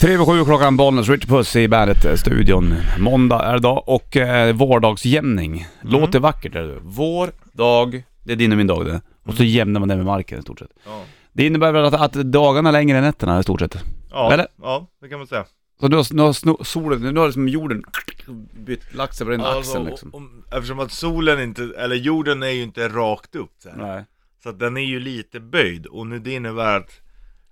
Tre över sju klockan, Bollnäs, Richard Puss i Bandet-studion. Måndag är det idag och eh, vårdagsjämning. Låter vackert, är det. Vår dag, det är din och min dag det. Och så jämnar man den med marken i stort sett. Ja. Det innebär väl att, att dagarna är längre än nätterna i stort sett. Ja, Eller? ja, det kan man säga. Så nu har, nu har sno, solen, nu har liksom jorden bytt, lagt sig på den axeln och- liksom. Alltså, om, eftersom att solen inte, eller jorden är ju inte rakt upp så, här, Nej. så att den är ju lite böjd och nu det innebär att,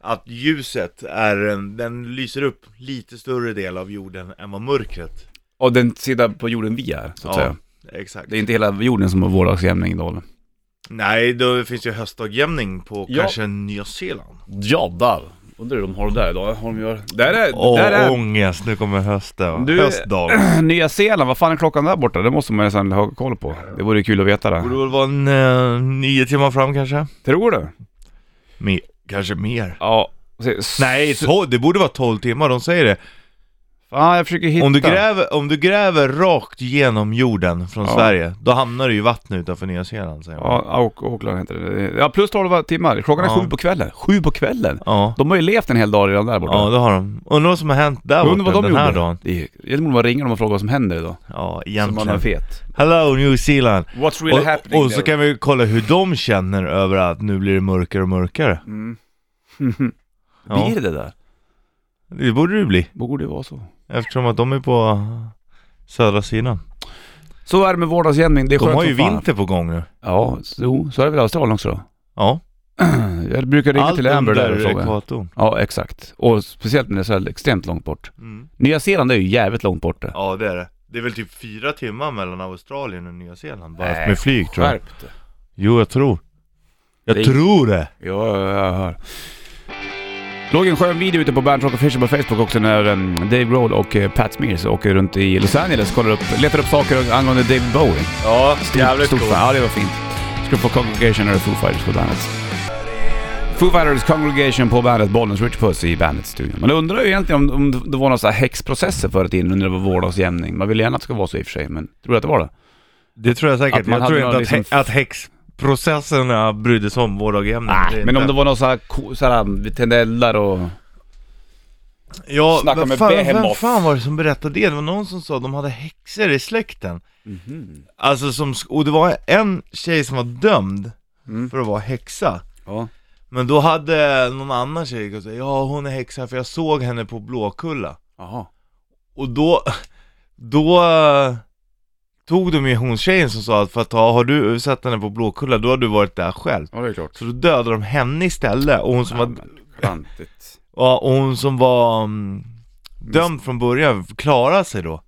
att ljuset är, en- den lyser upp lite större del av jorden än vad mörkret Och den sidan på jorden vi är, så att säga. Exakt. Det är inte hela jorden som har vårdagsjämning idag. Nej, då finns ju höstdagjämning på Ja. kanske Nya Zeeland. Jadar! Undrar hur de har det där idag, har de gör... Där är... Åh, där är... ångest, nu kommer hösten. Du- Höstdag. Nya Zeeland, vad fan är klockan där borta? Det måste man nästan ha koll på. Det vore ju kul att veta Borde det. väl vara en, eh, nio timmar fram kanske? Tror du? Me- kanske mer. Ja. S- Nej, s- tolv- det borde vara 12 timmar, de säger det. Fan, jag försöker hitta. Om du, gräver, om du gräver rakt genom jorden från Ja. Sverige, då hamnar du i vattnet utanför Nya Zeeland säger man. Ja, Auk- Auckland heter det. Ja, plus 12 timmar. Klockan är Ja. sju på kvällen. Sju på kvällen? Ja, De har ju levt en hel dag redan där borta. ja det har de. Undrar vad som har hänt där Undrar vad borta de den här gjorde. dagen. Det är, jag tror man ringer dem och frågar vad som händer idag. Ja, Så man är egentligen. fet. Hello New Zeeland! What's Och, och så kan vi kolla hur de känner över att nu blir det mörkare och mörkare. Mm. Ja, Blir det det där? det borde det bli. Borde ju vara så. Eftersom att de är på södra sidan. Så är det med vårdagsjämning. Det är De skönt har ju som fan. vinter på gång nu. Ja, så, så är det väl i Australien också då. Ja, Jag brukar ringa allt till Amber där och under fråga. ekvatorn. Ja, exakt. Och speciellt när det är så här extremt långt bort. Mm. Nya Zeeland är ju jävligt långt bort det. Ja det är det. Det är väl typ fyra timmar mellan Australien och Nya Zeeland bara Nej, med flyg tror jag. Skärp dig. Jo jag tror. Jag Det- tror det! Ja, ja, jag hör. Låg en skön video ute på Bandrock Rock Official på Facebook också när um, Dave Grohl och eh, Pat Smears åker runt i Los Angeles kollar upp, letar upp saker angående David Bowie. Ja, stort fan. Ja, det var fint. Ska du få Congregation eller Foo Fighters på bandet. Foo Fighters Congregation på bandet, Bollnäs Rich Puss i bandet-studion. Man undrar ju egentligen om, om det var några så här häxprocesser förr i tiden när det var vårdagsjämning. Man vill gärna att det ska vara så i och för sig, men tror du att det var det? Det tror jag säkert. Att man Jag tror hade inte att, någon liksom- hä- att häxprocesserna brydde sig om vårdagjämning. Nej, men om det var någon så här, ko- så här vi tände eldar och... Ja, Snacka vem med fan, vem Behemoth. fan var det som berättade det? Det var någon som sa att de hade häxor i släkten. Mhm. Alltså som, sk- och det var en tjej som var dömd Mm. för att vara häxa. Ja. Men då hade någon annan tjej gått och sagt, ja hon är häxa för jag såg henne på Blåkulla. Jaha. Och då, då eh, tog de ju hon tjejen som sa att för att ha, har du sett henne på Blåkulla då har du varit där själv. Ja, det är klart. Så då dödade de henne istället och hon som var, Klantigt. ja, och hon som var mm, dömd från början klarade sig då.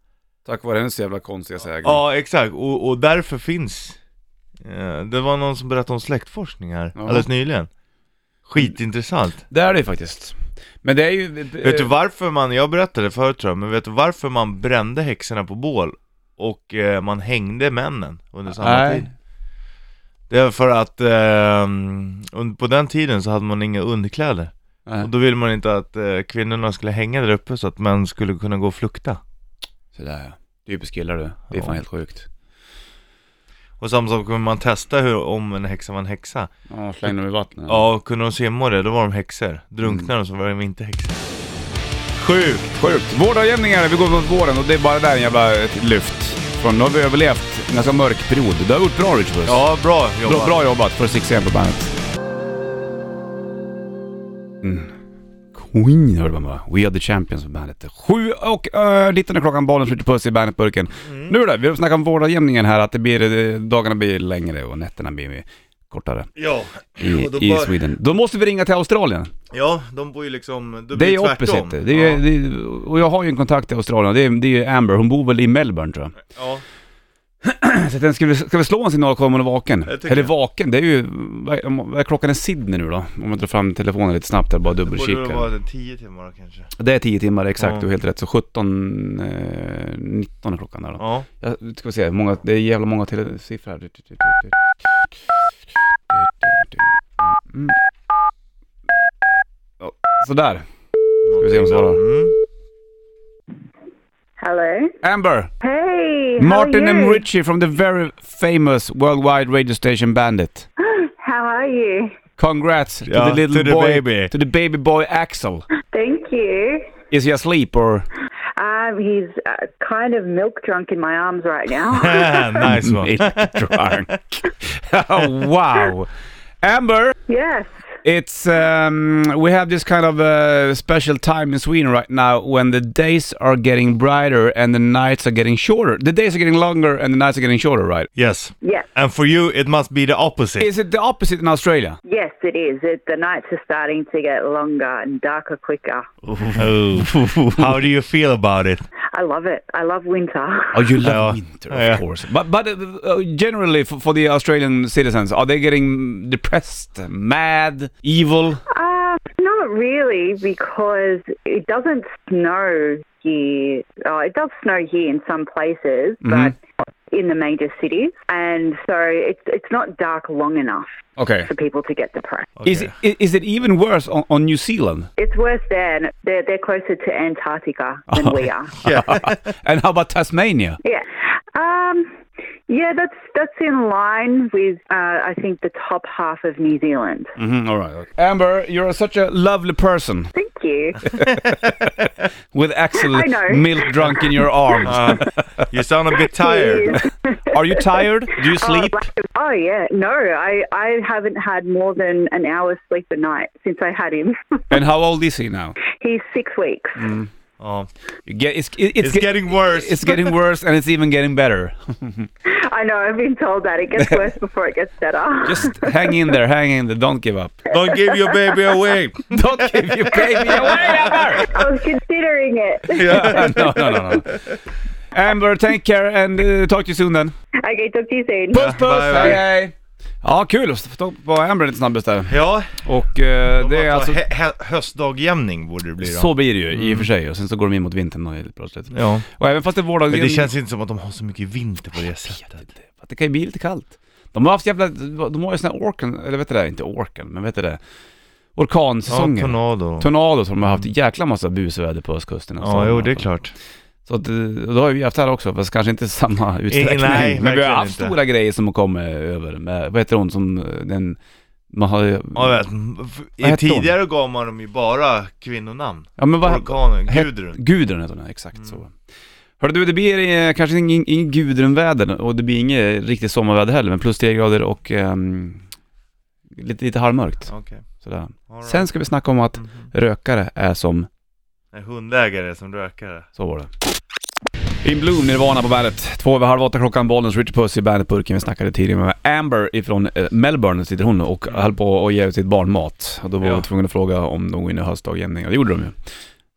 Tack vare hennes jävla konstiga sägen. Ja exakt, och, och därför finns eh, Det var någon som berättade om släktforskning här Jaha. alldeles nyligen Skitintressant. Det är det ju faktiskt. Men det är ju... Vet du varför man, jag berättade förut tror jag, men vet du varför man brände häxorna på bål och eh, man hängde männen under samma Nej. tid? Det är för att eh, und- på den tiden så hade man inga underkläder Nej. och då ville man inte att eh, kvinnorna skulle hänga där uppe så att män skulle kunna gå och flukta. Sådär ja. Typiskt killar du. Det är fan Ja. helt sjukt. Och samma sak kunde man testa hur, om en häxa var en Mm. häxa. Ja, släng dem i vattnet. Ja, och kunde de simma och det, då var de häxor. Drunknade de så var de inte häxor. Sjukt! Sjukt. Vårdagjämningar, vi går mot våren och det är bara där en jävla ett lyft. Från, nu har vi överlevt en ganska mörk period. Du har gjort bra Rich Puss. Ja, bra jobbat. bra, bra jobbat för 6 på bandet. Mm. Queen hörde man bara. We are the champions på bandet. Sju och äh, 19 är klockan, bollen flyttar puss i bandetburken. Mm. Nu då, vi snackar om vårdagjämningen här, att det blir, eh, dagarna blir längre och nätterna blir mer kortare Ja. i, Och då i bara- Sweden. Då måste vi ringa till Australien. ja, de bor ju liksom... Då Det blir är tvärtom. opposite. Det är, ja. det är, och jag har ju en kontakt i Australien, det är, det är ju Amber, hon bor väl i Melbourne tror jag. ja. Så den ska, vi, ska vi slå en signal och kolla om hon är vaken? Jag tycker Eller det. vaken, det är ju... vad- om- Vad är klockan i Sydney nu då? Om man drar fram telefonen lite snabbt där bara Det borde väl dubbelkikar. vara tio timmar då, kanske. Det är 10 timmar exakt, Ja. du är helt rätt. Så 17... Eh, 19 är klockan där då. Ja. Jag ska vi se, hur många, det är jävla många tele- siffror här. Mm. Ja, Sådär. vi se om de svarar. Mm. Hello. Amber! Hey. how Martin are you? and Richie from the very famous worldwide radio station Bandit. How are you? Congrats to Yeah, the little to the boy, baby. to the baby boy Axel. Thank you. Is he asleep or? Um, he's uh, kind of milk drunk in my arms right now. Mm. nice Mm. one. drunk. oh, wow. Amber, yes. it's um, we have this kind of uh, special time in Sweden right now when the days are getting brighter and the nights are getting shorter. The days are getting longer and the nights are getting shorter, right? Yes. Yes. And for you, it must be the opposite. Is it the opposite in Australia? Yes, it is. It, the nights are starting to get longer and darker quicker. Oh. How do you feel about it? I love it. I love winter. Oh, you Ja. love winter, of Ja. course. But but uh, uh, generally for, for the Australian citizens, are they getting depressed, mad, evil? Uh, not really, because it doesn't snow here. Oh, it does snow here in some places, Mm-hmm. but in the major cities, and so it's it's not dark long enough Okay. for people to get depressed. Is, it, is it even worse on, on New Zealand? It's worse there. and They're they're closer to Antarctica than we are. and how about Tasmania? Yeah. Um, yeah, that's that's in line with uh, I think the top half of New Zealand. Mm-hmm, Mm, all right. Amber, you're such a lovely person Thank you. with Axel I know. milk drunk in your arms. Uh, you sound a bit tired. Are you tired? Do you sleep? Oh, like- oh, yeah, no, I I haven't had more than an hour's sleep a night since I had him. And how old is he now? He's six weeks. Mm. Oh, You get- it's, it- it's getting worse. It's getting worse and it's even getting better. I know. I've been told that it gets worse before it gets better. Just hang in there, hang in there. Don't give up. Don't give your baby away. Don't give your baby away, Amber! I was considering it. no, no, no, no. Amber, take care and uh, talk to you soon then. okay, talk to you soon. Puss, puss! bye, bye. Hej, hej! Ja, kul att få tag på Amber lite snabbast där. Ja, Och eh, det är alltså... hö- hö- höstdagjämning borde det bli då. Mm. Så blir det ju i och för sig och sen så går de in mot vintern och helt plötsligt. Ja. Och även fast det är vårdagen... Men det känns inte som att de har så mycket vinter på det sättet. För att det kan ju bli lite kallt. De har haft jävla... De har ju såna här orkan... Eller vet du det? Inte orkan, men vet du det? Ja, Orkansäsongen. tornado. Tornado som de har haft jäkla massa busväder på östkusten. och Ja, så. jo det är klart. Så att, eh, då har vi haft här också, fast kanske inte i samma utsträckning. nej, men vi har verkligen haft inte. stora grejer som har kommit över. Med, vad heter hon som eh, den... Man har ju... Ja, Ja, vet, f- Vad hette tidigare gav man dem ju bara kvinnonamn. men vad... Orkanen, Het- Gudrun. Gudrun heter hon, ja, exakt Mm. så. Hörru du, det blir eh, kanske ing- ing Gudrun-väder och det blir inget riktigt sommarväder heller, men plus 10 grader och ehm, lite, lite halvmörkt. Okej. Sådär. alright. Sen ska vi snacka om att Mhm. rökare är som, En hundägare som rökare. så var det. In Bloom, Nirvana på bandet. Två över halv åtta klockan, Bollnäs, Richard Puss i bandetburken. Vi snackade tidigare med Amber ifrån eh, Melbourne, sitter hon och höll på att ge sitt barn mat. Och då var Ja. vi tvungna att fråga om de går in i höstdagjämning, och det gjorde de ju.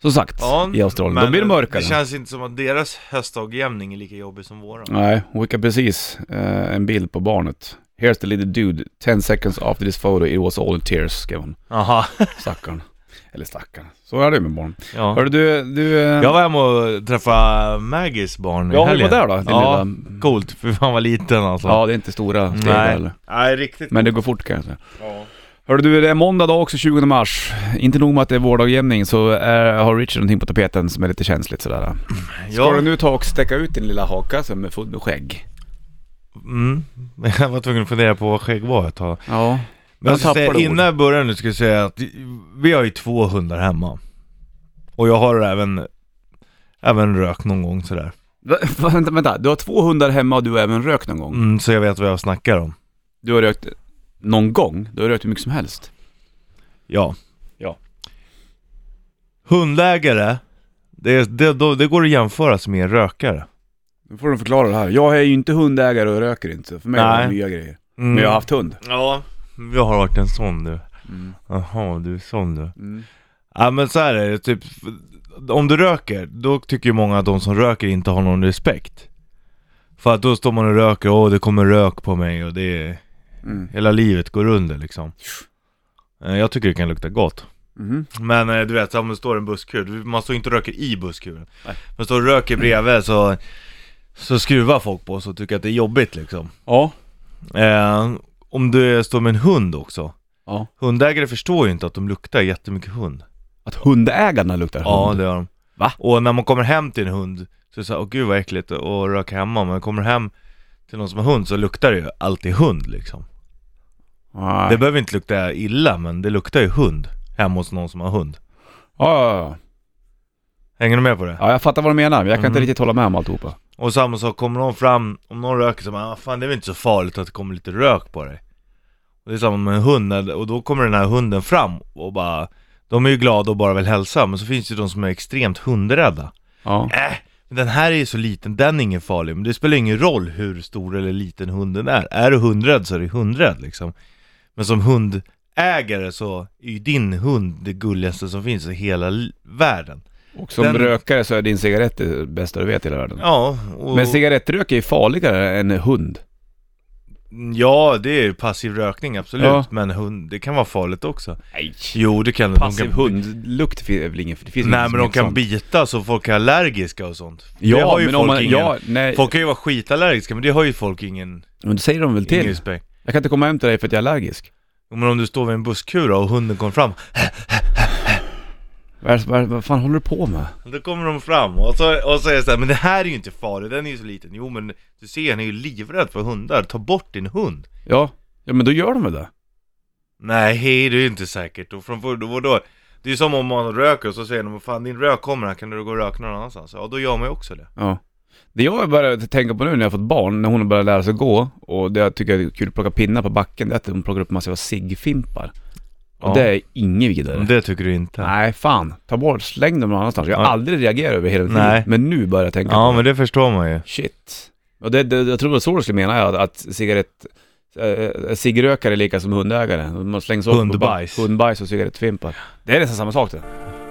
Som sagt, Ja, i Australien. men Då blir det mörkare. Det känns inte som att deras höstdagjämning är lika jobbig som våran. Nej, hon skickade precis eh, en bild på barnet. Here's the little dude, 10 seconds after this photo it was all in tears, skrev hon. Aha. Stackarn. Eller stackarn. Så är det med barn. Ja. Hörru du, du... eh, Jag var hemma och träffade Maggies barn i Ja, hur helgen. var det då, din Ja, lilla- coolt. För fan var liten alltså. ja, det är inte stora steg Nej. heller. Nej, riktigt Men det går fort kan jag säga. Ja. Hörru du, det är måndag dag också, 20 mars. Inte nog med att det är vårdagjämning så är, har Richard någonting på tapeten som är lite känsligt sådär. Ska Ja. du nu ta och stäcka ut din lilla haka som är full med skägg? Mm. Jag var tvungen att fundera på vad skägg var ett tag. Ja. Men jag ska tappar säga, det innan jag börjar nu ska jag säga att vi har ju två hundar hemma. Och jag har även, även rökt någon gång sådär. Va, vänta, vänta, du har två hundar hemma och du har även rökt någon gång? Mm, så jag vet vad jag snackar om. Du har rökt någon gång? Du har rökt hur mycket som helst? Ja. Ja. Hundägare, det, det, då- det går att jämföra med en rökare. Nu får du förklara det här. Jag är ju inte hundägare och röker inte, så för mig Nej. är det nya grejer. Mm. Men jag har haft hund. Ja, jag har varit en sån du. Mm. Jaha, du är sån du. Mm. Ja men så här är det, typ, om du röker, då tycker ju många att de som röker inte har någon respekt. För att då står man och röker, åh det kommer rök på mig och det är, Mm. hela livet går under liksom. Eh, Jag tycker det kan lukta gott. Mhm. Men eh, du vet, så om det står en busskur, man står inte och röker i busskuren. Nej. Man står och röker bredvid så, så skruvar folk på oss och tycker att det är jobbigt liksom. Ja. Eh, om du står med en hund också. Ja. Hundägare förstår ju inte att de luktar jättemycket hund. Att hundägarna luktar hund? Ja det gör de. Va? Och när man kommer hem till en hund så är det såhär, åh gud vad äckligt att röka hemma. Men kommer hem till någon som har hund så luktar det ju alltid hund liksom. Nej. Det behöver inte lukta illa men det luktar ju hund hemma hos någon som har hund. ja, ja, ja. Hänger du med på det? Ja, jag fattar vad du menar, men jag kan inte Mm. riktigt hålla med om alltihopa. Och samma sak, kommer någon fram, om någon röker så bara, ah, fan det är väl inte så farligt att det kommer lite rök på dig. Och det är samma med en hund, när- och då kommer den här hunden fram och bara, de är ju glada och bara vill hälsa, men så finns det ju de som är extremt hundrädda. Ja. Äh, men den här är ju så liten, den är ingen farlig, men det spelar ingen roll hur stor eller liten hunden är. Är du hundrädd så är du hundrädd liksom. Men som hundägare så är ju din hund det gulligaste som finns i hela li- världen. Och som Den- rökare så är din cigarett det bästa du vet i hela världen. Ja, och... Men cigarettrök är ju farligare än en hund. Ja, det är ju passiv rökning absolut, Ja. men hund, det kan vara farligt också. Nej. Jo, det kan det. De Passiv kan, hundlukt finns väl ingen... Det finns Nej, ingen men som de heter kan sånt. bita så folk är allergiska och sånt. det Ja, har ju men folk om man... ingen. Ja, nej. Folk kan ju vara skitallergiska, men det har ju folk ingen, Men det säger de väl ingen till? respekt. Jag kan inte komma hem till dig för att jag är allergisk. Men om du står vid en busskura och hunden kommer fram, Vad, är- vad, är- vad fan håller du på med? då kommer de fram och så, och så är det så här, men det här är ju inte farligt, den är ju så liten. Jo, men du ser, han är ju livrädd för hundar. Ta bort din hund. Ja, ja men då gör de väl det. Nej, det är ju inte säkert. Och från förr, då, då, det är ju som om man röker och så säger de "Vad fan din rök kommer här, kan du gå och röka någon annanstans? Ja, då gör man ju också det. Ja. Det jag börjar tänka på nu när jag har fått barn, när hon har börjat lära sig gå och det jag tycker är kul att plocka pinnar på backen, det är att hon plockar upp massiva ciggfimpar. Och Ja. det är inget vidare. Men Det tycker du inte? Nej, fan. Ta bort, släng dem någon annanstans. Jag har Ja. aldrig reagerat över hela tiden. Nej. Men nu börjar jag tänka Ja, på det. men det förstår man ju. Shit. Och det, det, jag tror det var så du skulle mena, att, att cigarett... Äh, ciggrökare är lika som hundägare. Man slängs upp på Hundbajs. ba- Hundbajs och cigarettfimpar. Det är nästan samma sak det.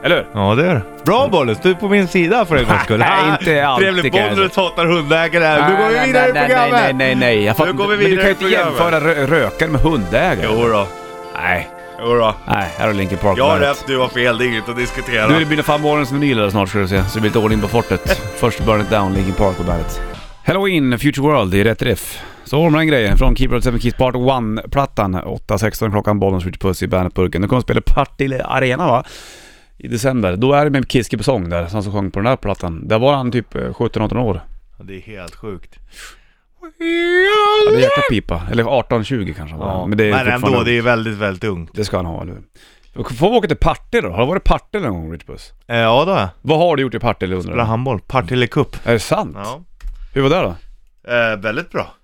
Eller hur? Ja, det är det. Bra Bollens, du är på min sida för en gångs skull. Nej, inte alltid, Trevligt kan jag säga. Bollens hatar hundägare här. Nu går vi Nej, vidare i nej, nej, programmet. Nej, nej, nej, nej. Jag fattar Nu går vi inte. Men du kan vidare ju i inte programmet. jämföra rö- rökare med hundägare. Jo då, Nej, jo då. nej. Här har Linkin Park Jag har Bandet. rätt, du har fel. Det är inget att diskutera. Nu är det Bina Fanborgens vinyl där snart ska du se, så det blir lite ordning på fortet. Först Burn It Down, Linkin Park på bandet. Halloween, Future World i rätt riff. Så var det med den grejen från Keeper of the Seven Keys Part 1-plattan. 8.16 klockan, bollen skjuter puss i bandetburken. Nu kommer de spela i Partille Arena va? I december. Då är det med Kiske på sång där, som sjöng på den där plattan. Där var han typ eh, 17-18 år. Det är helt sjukt. Ja, det är jäkla pipa. Eller 18-20 kanske han var. Ja, men det är fortfarande- ändå, det är väldigt, väldigt ungt. det ska han ha, eller hur? Får vi åka till Partille då? Har du varit i Partille någon gång, Rich Puss? Eh, ja, då har jag. Vad har du gjort i Partille undrar Spelar jag? handboll. Partille Cup. Är det sant? Ja. Hur var det då? Eh, väldigt bra.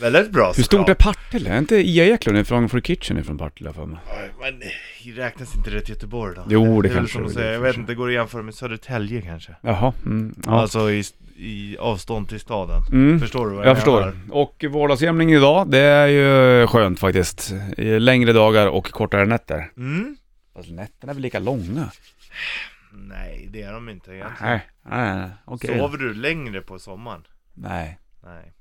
Väldigt bra Hur stort är såklart. Partille? Är inte Ia Eklund ifrån Free Kitchen ifrån Partille har jag för mig? Oj, Men eh, räknas inte det till Göteborg då? Jo, det är väl kanske som det att är, säga, det Jag kanske. vet inte, går det att jämföra med Södertälje kanske? Jaha, mm, ja. Alltså i, i avstånd till staden. Mm. Förstår du vad Jag förstår. Och vardagsjämning idag, det är ju skönt faktiskt. Längre dagar och kortare nätter. Mm? Fast nätterna är väl lika långa? Nej, det är de inte egentligen. Nej, nej, nej. okej. Sover du längre på sommaren? Nej, Nej.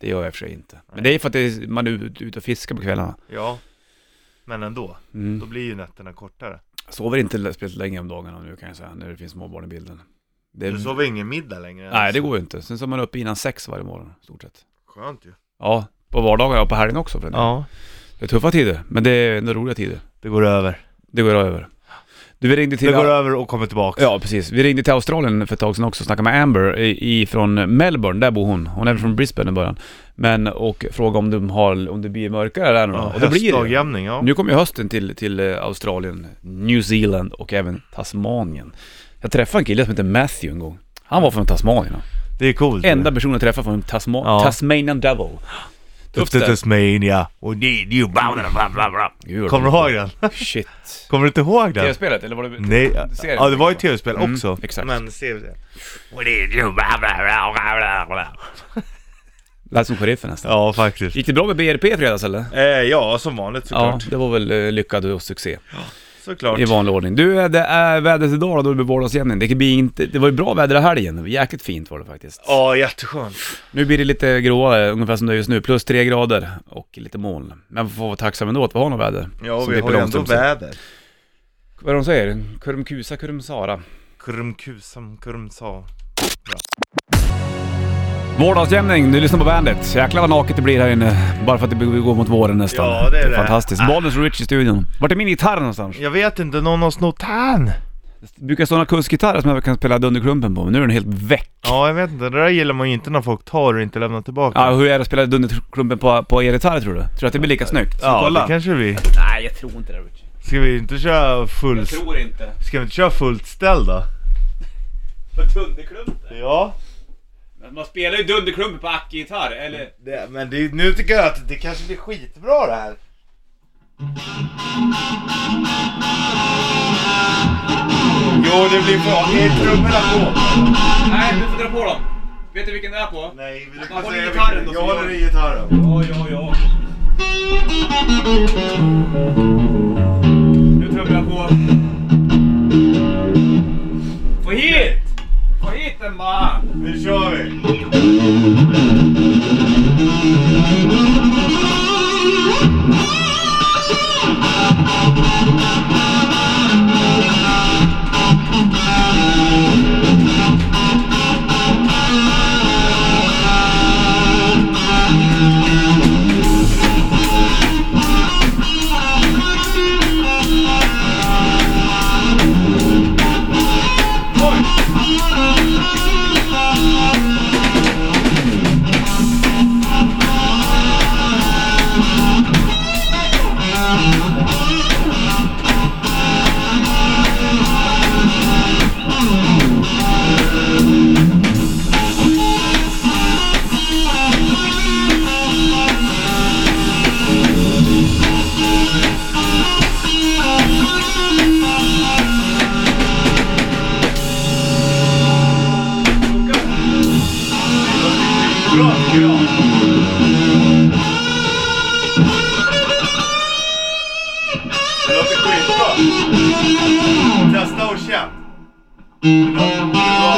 det gör jag i och för sig inte. Men det är för att det är, man är ute ute och fiskar på kvällarna. Ja. Men ändå, Mm. då blir ju nätterna kortare. Jag sover inte speciellt länge om dagarna nu kan jag säga, när det finns småbarn i bilden. Det, Du sover ingen middag längre? nej, det går ju inte. Sen så är man uppe innan sex varje morgon, i stort sett. Skönt ju. Ja, på vardagar och på helgen också. För ja. Ja, Det är tuffa tider, men det är ändå roliga tider. det går över. Det går över. Du, vi ringde till... Det går över och kommer tillbaka. Ja, precis. Vi ringde till Australien för ett tag sedan också och snackade med Amber i, i, från Melbourne, där bor hon. Hon är väl från Brisbane i början. Men, och frågade om, de har, om det blir mörkare där nu då. Ja, Och det blir det. ju. höstdagjämning, ja. Nu kommer ju hösten till, till eh, Australien, New Zealand och även Tasmanien. Jag träffade en kille som heter Matthew en gång. Han var från Tasmanien. då. Det är coolt. Enda personen jag träffade från Tasma- Ja. Tasmanian Devil. Upp till Tasmania och need you bla bla bla bla bla. Gud, Kommer du ihåg den? Shit. Kommer du inte ihåg den? Tv-spelet eller var det... Nej, Serien. ja det var ju tv-spel Mm, också. exakt. Men serien. We need you bla bla bla bla bla bla. Lät som sheriffen nästan. Ja faktiskt. Gick det bra med BRP i fredags eller? Eh, ja som vanligt Ja, såklart. det var väl eh, lyckad och succé Såklart. i vanlig ordning. Du, eh, det är vädret idag då, då det blir vardagsjämning. Det, kan bli inte, det var ju bra väder i helgen, jäkligt fint var det faktiskt. Ja jätteskönt. Nu blir det lite gråare, ungefär som det är just nu, plus tre grader och lite moln. Men vi får vara tacksamma ändå att vi har något väder. Ja Som vi Pippi har ju ändå Långstrump säger. väder. Vad är det de säger? Kurmkusa, kurmsara. Kurmkusam kurmsa. Vardagsjämning, du lyssnar på bandet. Jäklar vad naket det blir här inne, bara för att det går mot våren nästan. Ja, det är det. Fantastiskt. Ah. Bollnäs och Rich i studion. Vart är min gitarr någonstans? Jag vet inte, någon har snott han. Det brukar stå en akusgitarr som jag kan spela dunderklumpen på, men nu är den helt väck. Ja jag vet inte, det där gillar man ju inte när folk tar och inte lämnar tillbaka. Ja, Ah, hur är det att spela dunderklumpen på, på er gitarr tror du? Tror du att det blir lika snyggt? Ja, det kanske vi. Nej, jag tror inte det Rich. Ska vi inte köra full... tror inte. Ska vi inte köra fullt ställ då? På Dunderklumpen? Ja. Man spelar ju Dunderklumpen på ackgitarr, eller? Det, men det, nu tycker jag att det kanske blir skitbra det här. Jo, det blir bra. Det är trummorna på. Nej, du får dra på dem. Vet du vilken det är på? Nej, vill Man håller i gitarren då, Jag så håller gör- i gitarren. Ja, ja, ja. Nu trummar jag på. Få hit! Få hit den bara! Nu kör vi. Bra, bra. Det låter skitbra. Testa och känn. Det låter bra.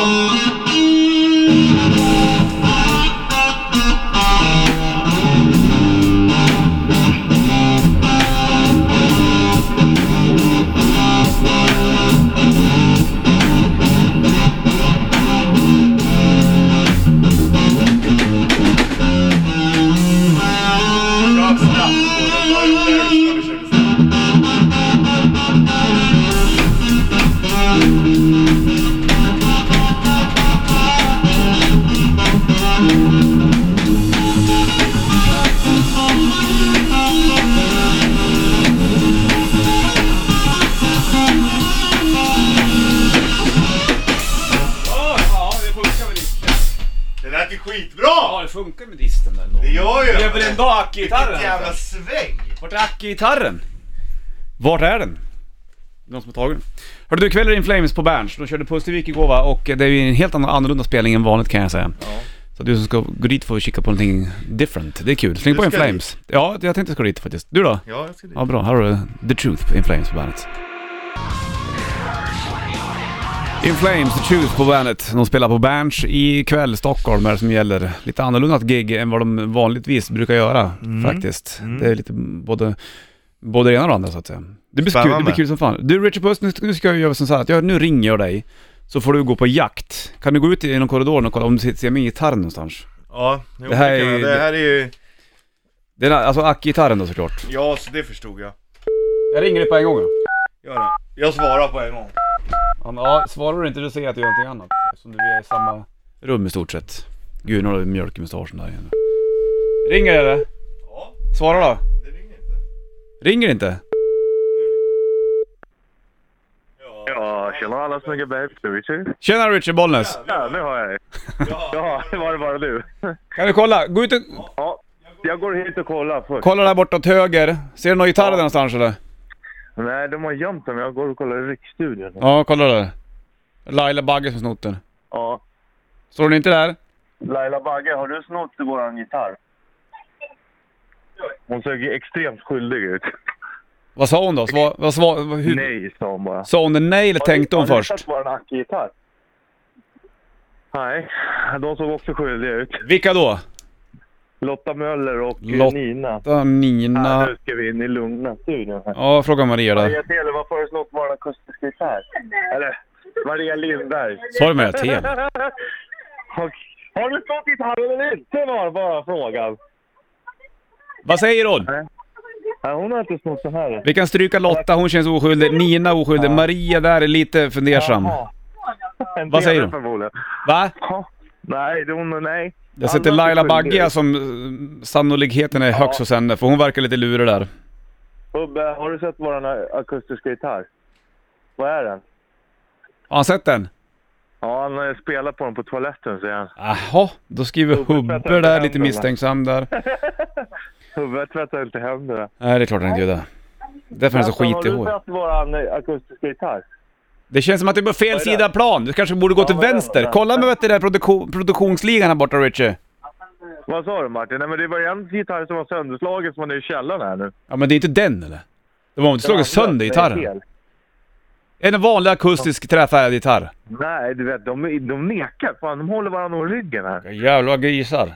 Kör snabbt. Jag tar ut det här, så försöker snabbt. Ja, ja, det funkar med disken. Det lät ju skitbra! Ja, det funkar med disten där. ändå. Det gör ju Det är väl en dag alltså. ackgitarren? Vilket jävla sväng! Vart är ackgitarren? Vart är den? Det är Någon som har tagit den? Hörde du, kvällen in Flames på Berns. De körde Pustervik igår va? Och det är ju en helt annan- annorlunda spelning än vanligt kan jag säga. Så du som ska gå dit får kika på någonting different. Det är kul. Släng Du på In ska Flames. Ja, jag tänkte ska dit faktiskt. Du då? Ja, jag ska dit. Ja, bra. Här har du The Truth på In Flames på bandet. In Flames, The Truth på bandet. De spelar på Berns ikväll, Stockholm är det som gäller. Lite annorlunda gig än vad de vanligtvis brukar göra faktiskt. Det är lite både, både det ena och det andra så att säga. Det blir, kul, det Spännande. blir kul som fan. Du Richard Puss, nu, nu ska jag göra som så här att jag, nu ringer jag dig. Så får du gå på jakt. Kan du gå ut genom korridoren och kolla om du ser- ser min gitarr någonstans? Ja, jo, Det det, här här är ju- det här är ju... Det är, alltså ackgitarren då såklart. Ja, så det förstod jag. Jag ringer dig på en gång då. Gör det. Jag svarar på en gång. Han, ja, svarar du inte du säger att du gör någonting annat. Eftersom du är i samma rum i stort sett. Gud, nu har du mjölk i mustaschen där igen. Ringer det eller? Ja, Svara då. det ringer inte. Ringer inte? Ja, tjena alla snygga babes. Nu är vi till. Tjena Richard Bollnäs! Ja, nu har jag dig. Ja, det var det bara du. Kan du kolla? Gå ut och Ja, jag går hit och kollar först. kolla där borta åt höger. Ser du någon gitarr där någonstans eller? Nej, de har gömt dem. Jag går och kollar i Riksstudion. Ja, kolla där. Laila Bagge som snott den. Ja. Står den inte där? Laila Bagge, har du snott våran gitarr? Hon såg ju extremt skyldig ut. Vad sa hon då? Sva, vad sva, vad- hur, Nej, sa hon bara. Sa hon nej eller tänkte hon Har ni först? sett våran ackgitarr? Nej, de såg också skyldiga ut. Vilka då? Lotta Möller och eh, Lotta- Nina. Där, Ja, Nina. nu ska vi in i lugna studion här. Ja, fråga Maria där. Maria Tele, varför har du snott vår akustiska gitarr? Eller Maria Lindberg. Sa du Maria Tel? Och, har du snott gitarren eller inte var bara frågan. Vad säger hon? Nej, hon har inte snott den här. Vi kan stryka Lotta, hon känns oskyldig. Nina oskyldig. Maria där är lite fundersam. Jaha. En Vad säger du? del förmodligen. Va? Ja. Nej, det är hon nej. Jag sätter Alla Laila är skyldiga. Bagge som eh, sannolikheten är högst hos henne, för hon verkar lite lurig där. Bubbe, har du sett vår akustiska gitarr? Vad är den? Har han sett den? Ja, han eh, spelar på dem på toaletten säger han. Jaha, då skriver Hubbe där lite misstänksam där. Huvudet tvättar inte händerna. Nej, det är klart han inte gör det. Därför är han så Vänta, skitig alltså, i Alltså, Har du håret. sett våran eh, akustiska gitarr? Det känns som att du är på fel sida av plan. Du kanske borde gå till vad är det? vänster. Kolla med vet du, den där produko- produktionsligan här borta Richie. Vad sa du Martin? Nej men det var en gitarr som var sönderslagen som man är i källaren här nu. Ja men det är inte den eller? De har inte slagit sönder Den andra, den är gitarren? hel. En vanlig akustisk träfärgad gitarr. Nej, du vet de, de nekar. Fan, de håller varandra om ryggen här. Jävla grisar.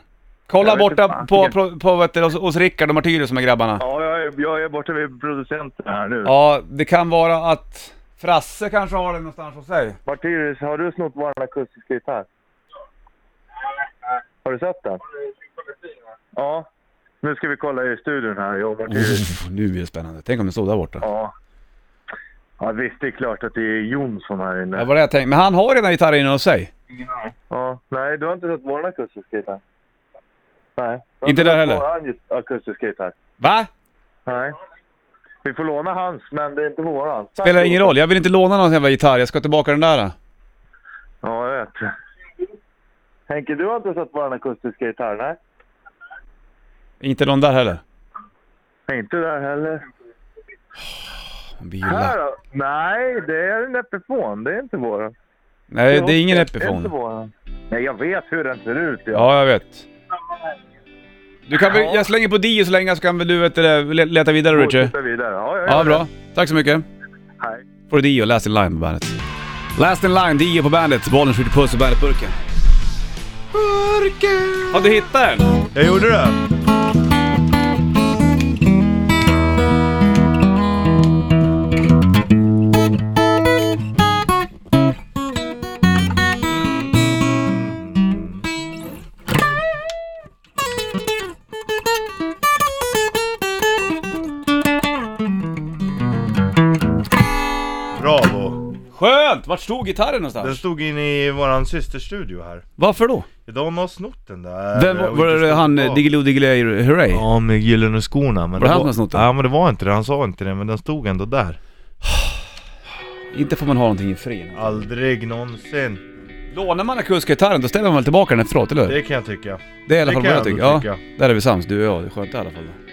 Kolla Jag vet borta inte fan. på, på, på vet du, hos, hos Rickard och Martyrus som är grabbarna. Ja. Ja, jag är, jag är borta vid producenten här nu. det kan vara att Frasse kanske har den någonstans hos sig. Martyrus, har du snott vår akustiska gitarr? Har du sett den? Ja. Nu ska vi kolla i studion här, jag och Martyrus. Uff, nu blir det spännande. Tänk om den stod där borta. Ja. Ja, visst, det är klart att det är Jonsson här Det inne. var det jag tänkte. Men han har redan gitarren inne hos sig. Ja. Nej, du har inte sett vår akustiska gitarr? Nej. Du har Inte där sett heller? Vår akustiska gitarr? Va? Nej. Vi får låna hans, men det är inte våran. Spelar ingen roll. Jag vill inte låna någon jävla gitarr. Jag ska tillbaka den där. Ja, jag vet. Henke, du har inte sett vår akustiska gitarr? Nej. Inte någon där heller. Nej, Inte där heller. Han blir ju Här lack. då? Nej, det är en Epifon. Det är inte våran. Nej, det är ingen Det är inte Epifon. våran. Nej, jag vet hur den ser ut. Ja. Ja, jag vet. Du kan väl, jag slänger på Dio så länge så kan väl du vet, det där, le- leta vidare Richie. Fortsätter vidare. Ja, jag Ja, gör bra. Tack så mycket. det. Hej. Får du Dio, Last in Line på bandet. Last in Line, Dio på bandet. Bollen skjuter puss och bandet-burken. Burken! Har du hittat den? Jag gjorde det! Bravo! Skönt! Vart stod gitarren Den någonstans? stod in i våran systerstudio här. Varför då? De har snott den där. Den, var, och var inte det ställt han av. eh, Diggiloo Diggiley Hooray? Ja, med gyllene skorna. Men det han som har snott den? Ja, men det var inte det. Han sa inte det, men den stod ändå där. Inte får man ha någonting i fred. Aldrig någonsin. Lånar man akusgitarren då ställer man väl tillbaka den efteråt, eller hur? Det kan jag tycka. Det är i alla det fall kan vad jag jag tycker. ändå Ja, där är vi sams, du och jag. Det är skönt i alla fall. då.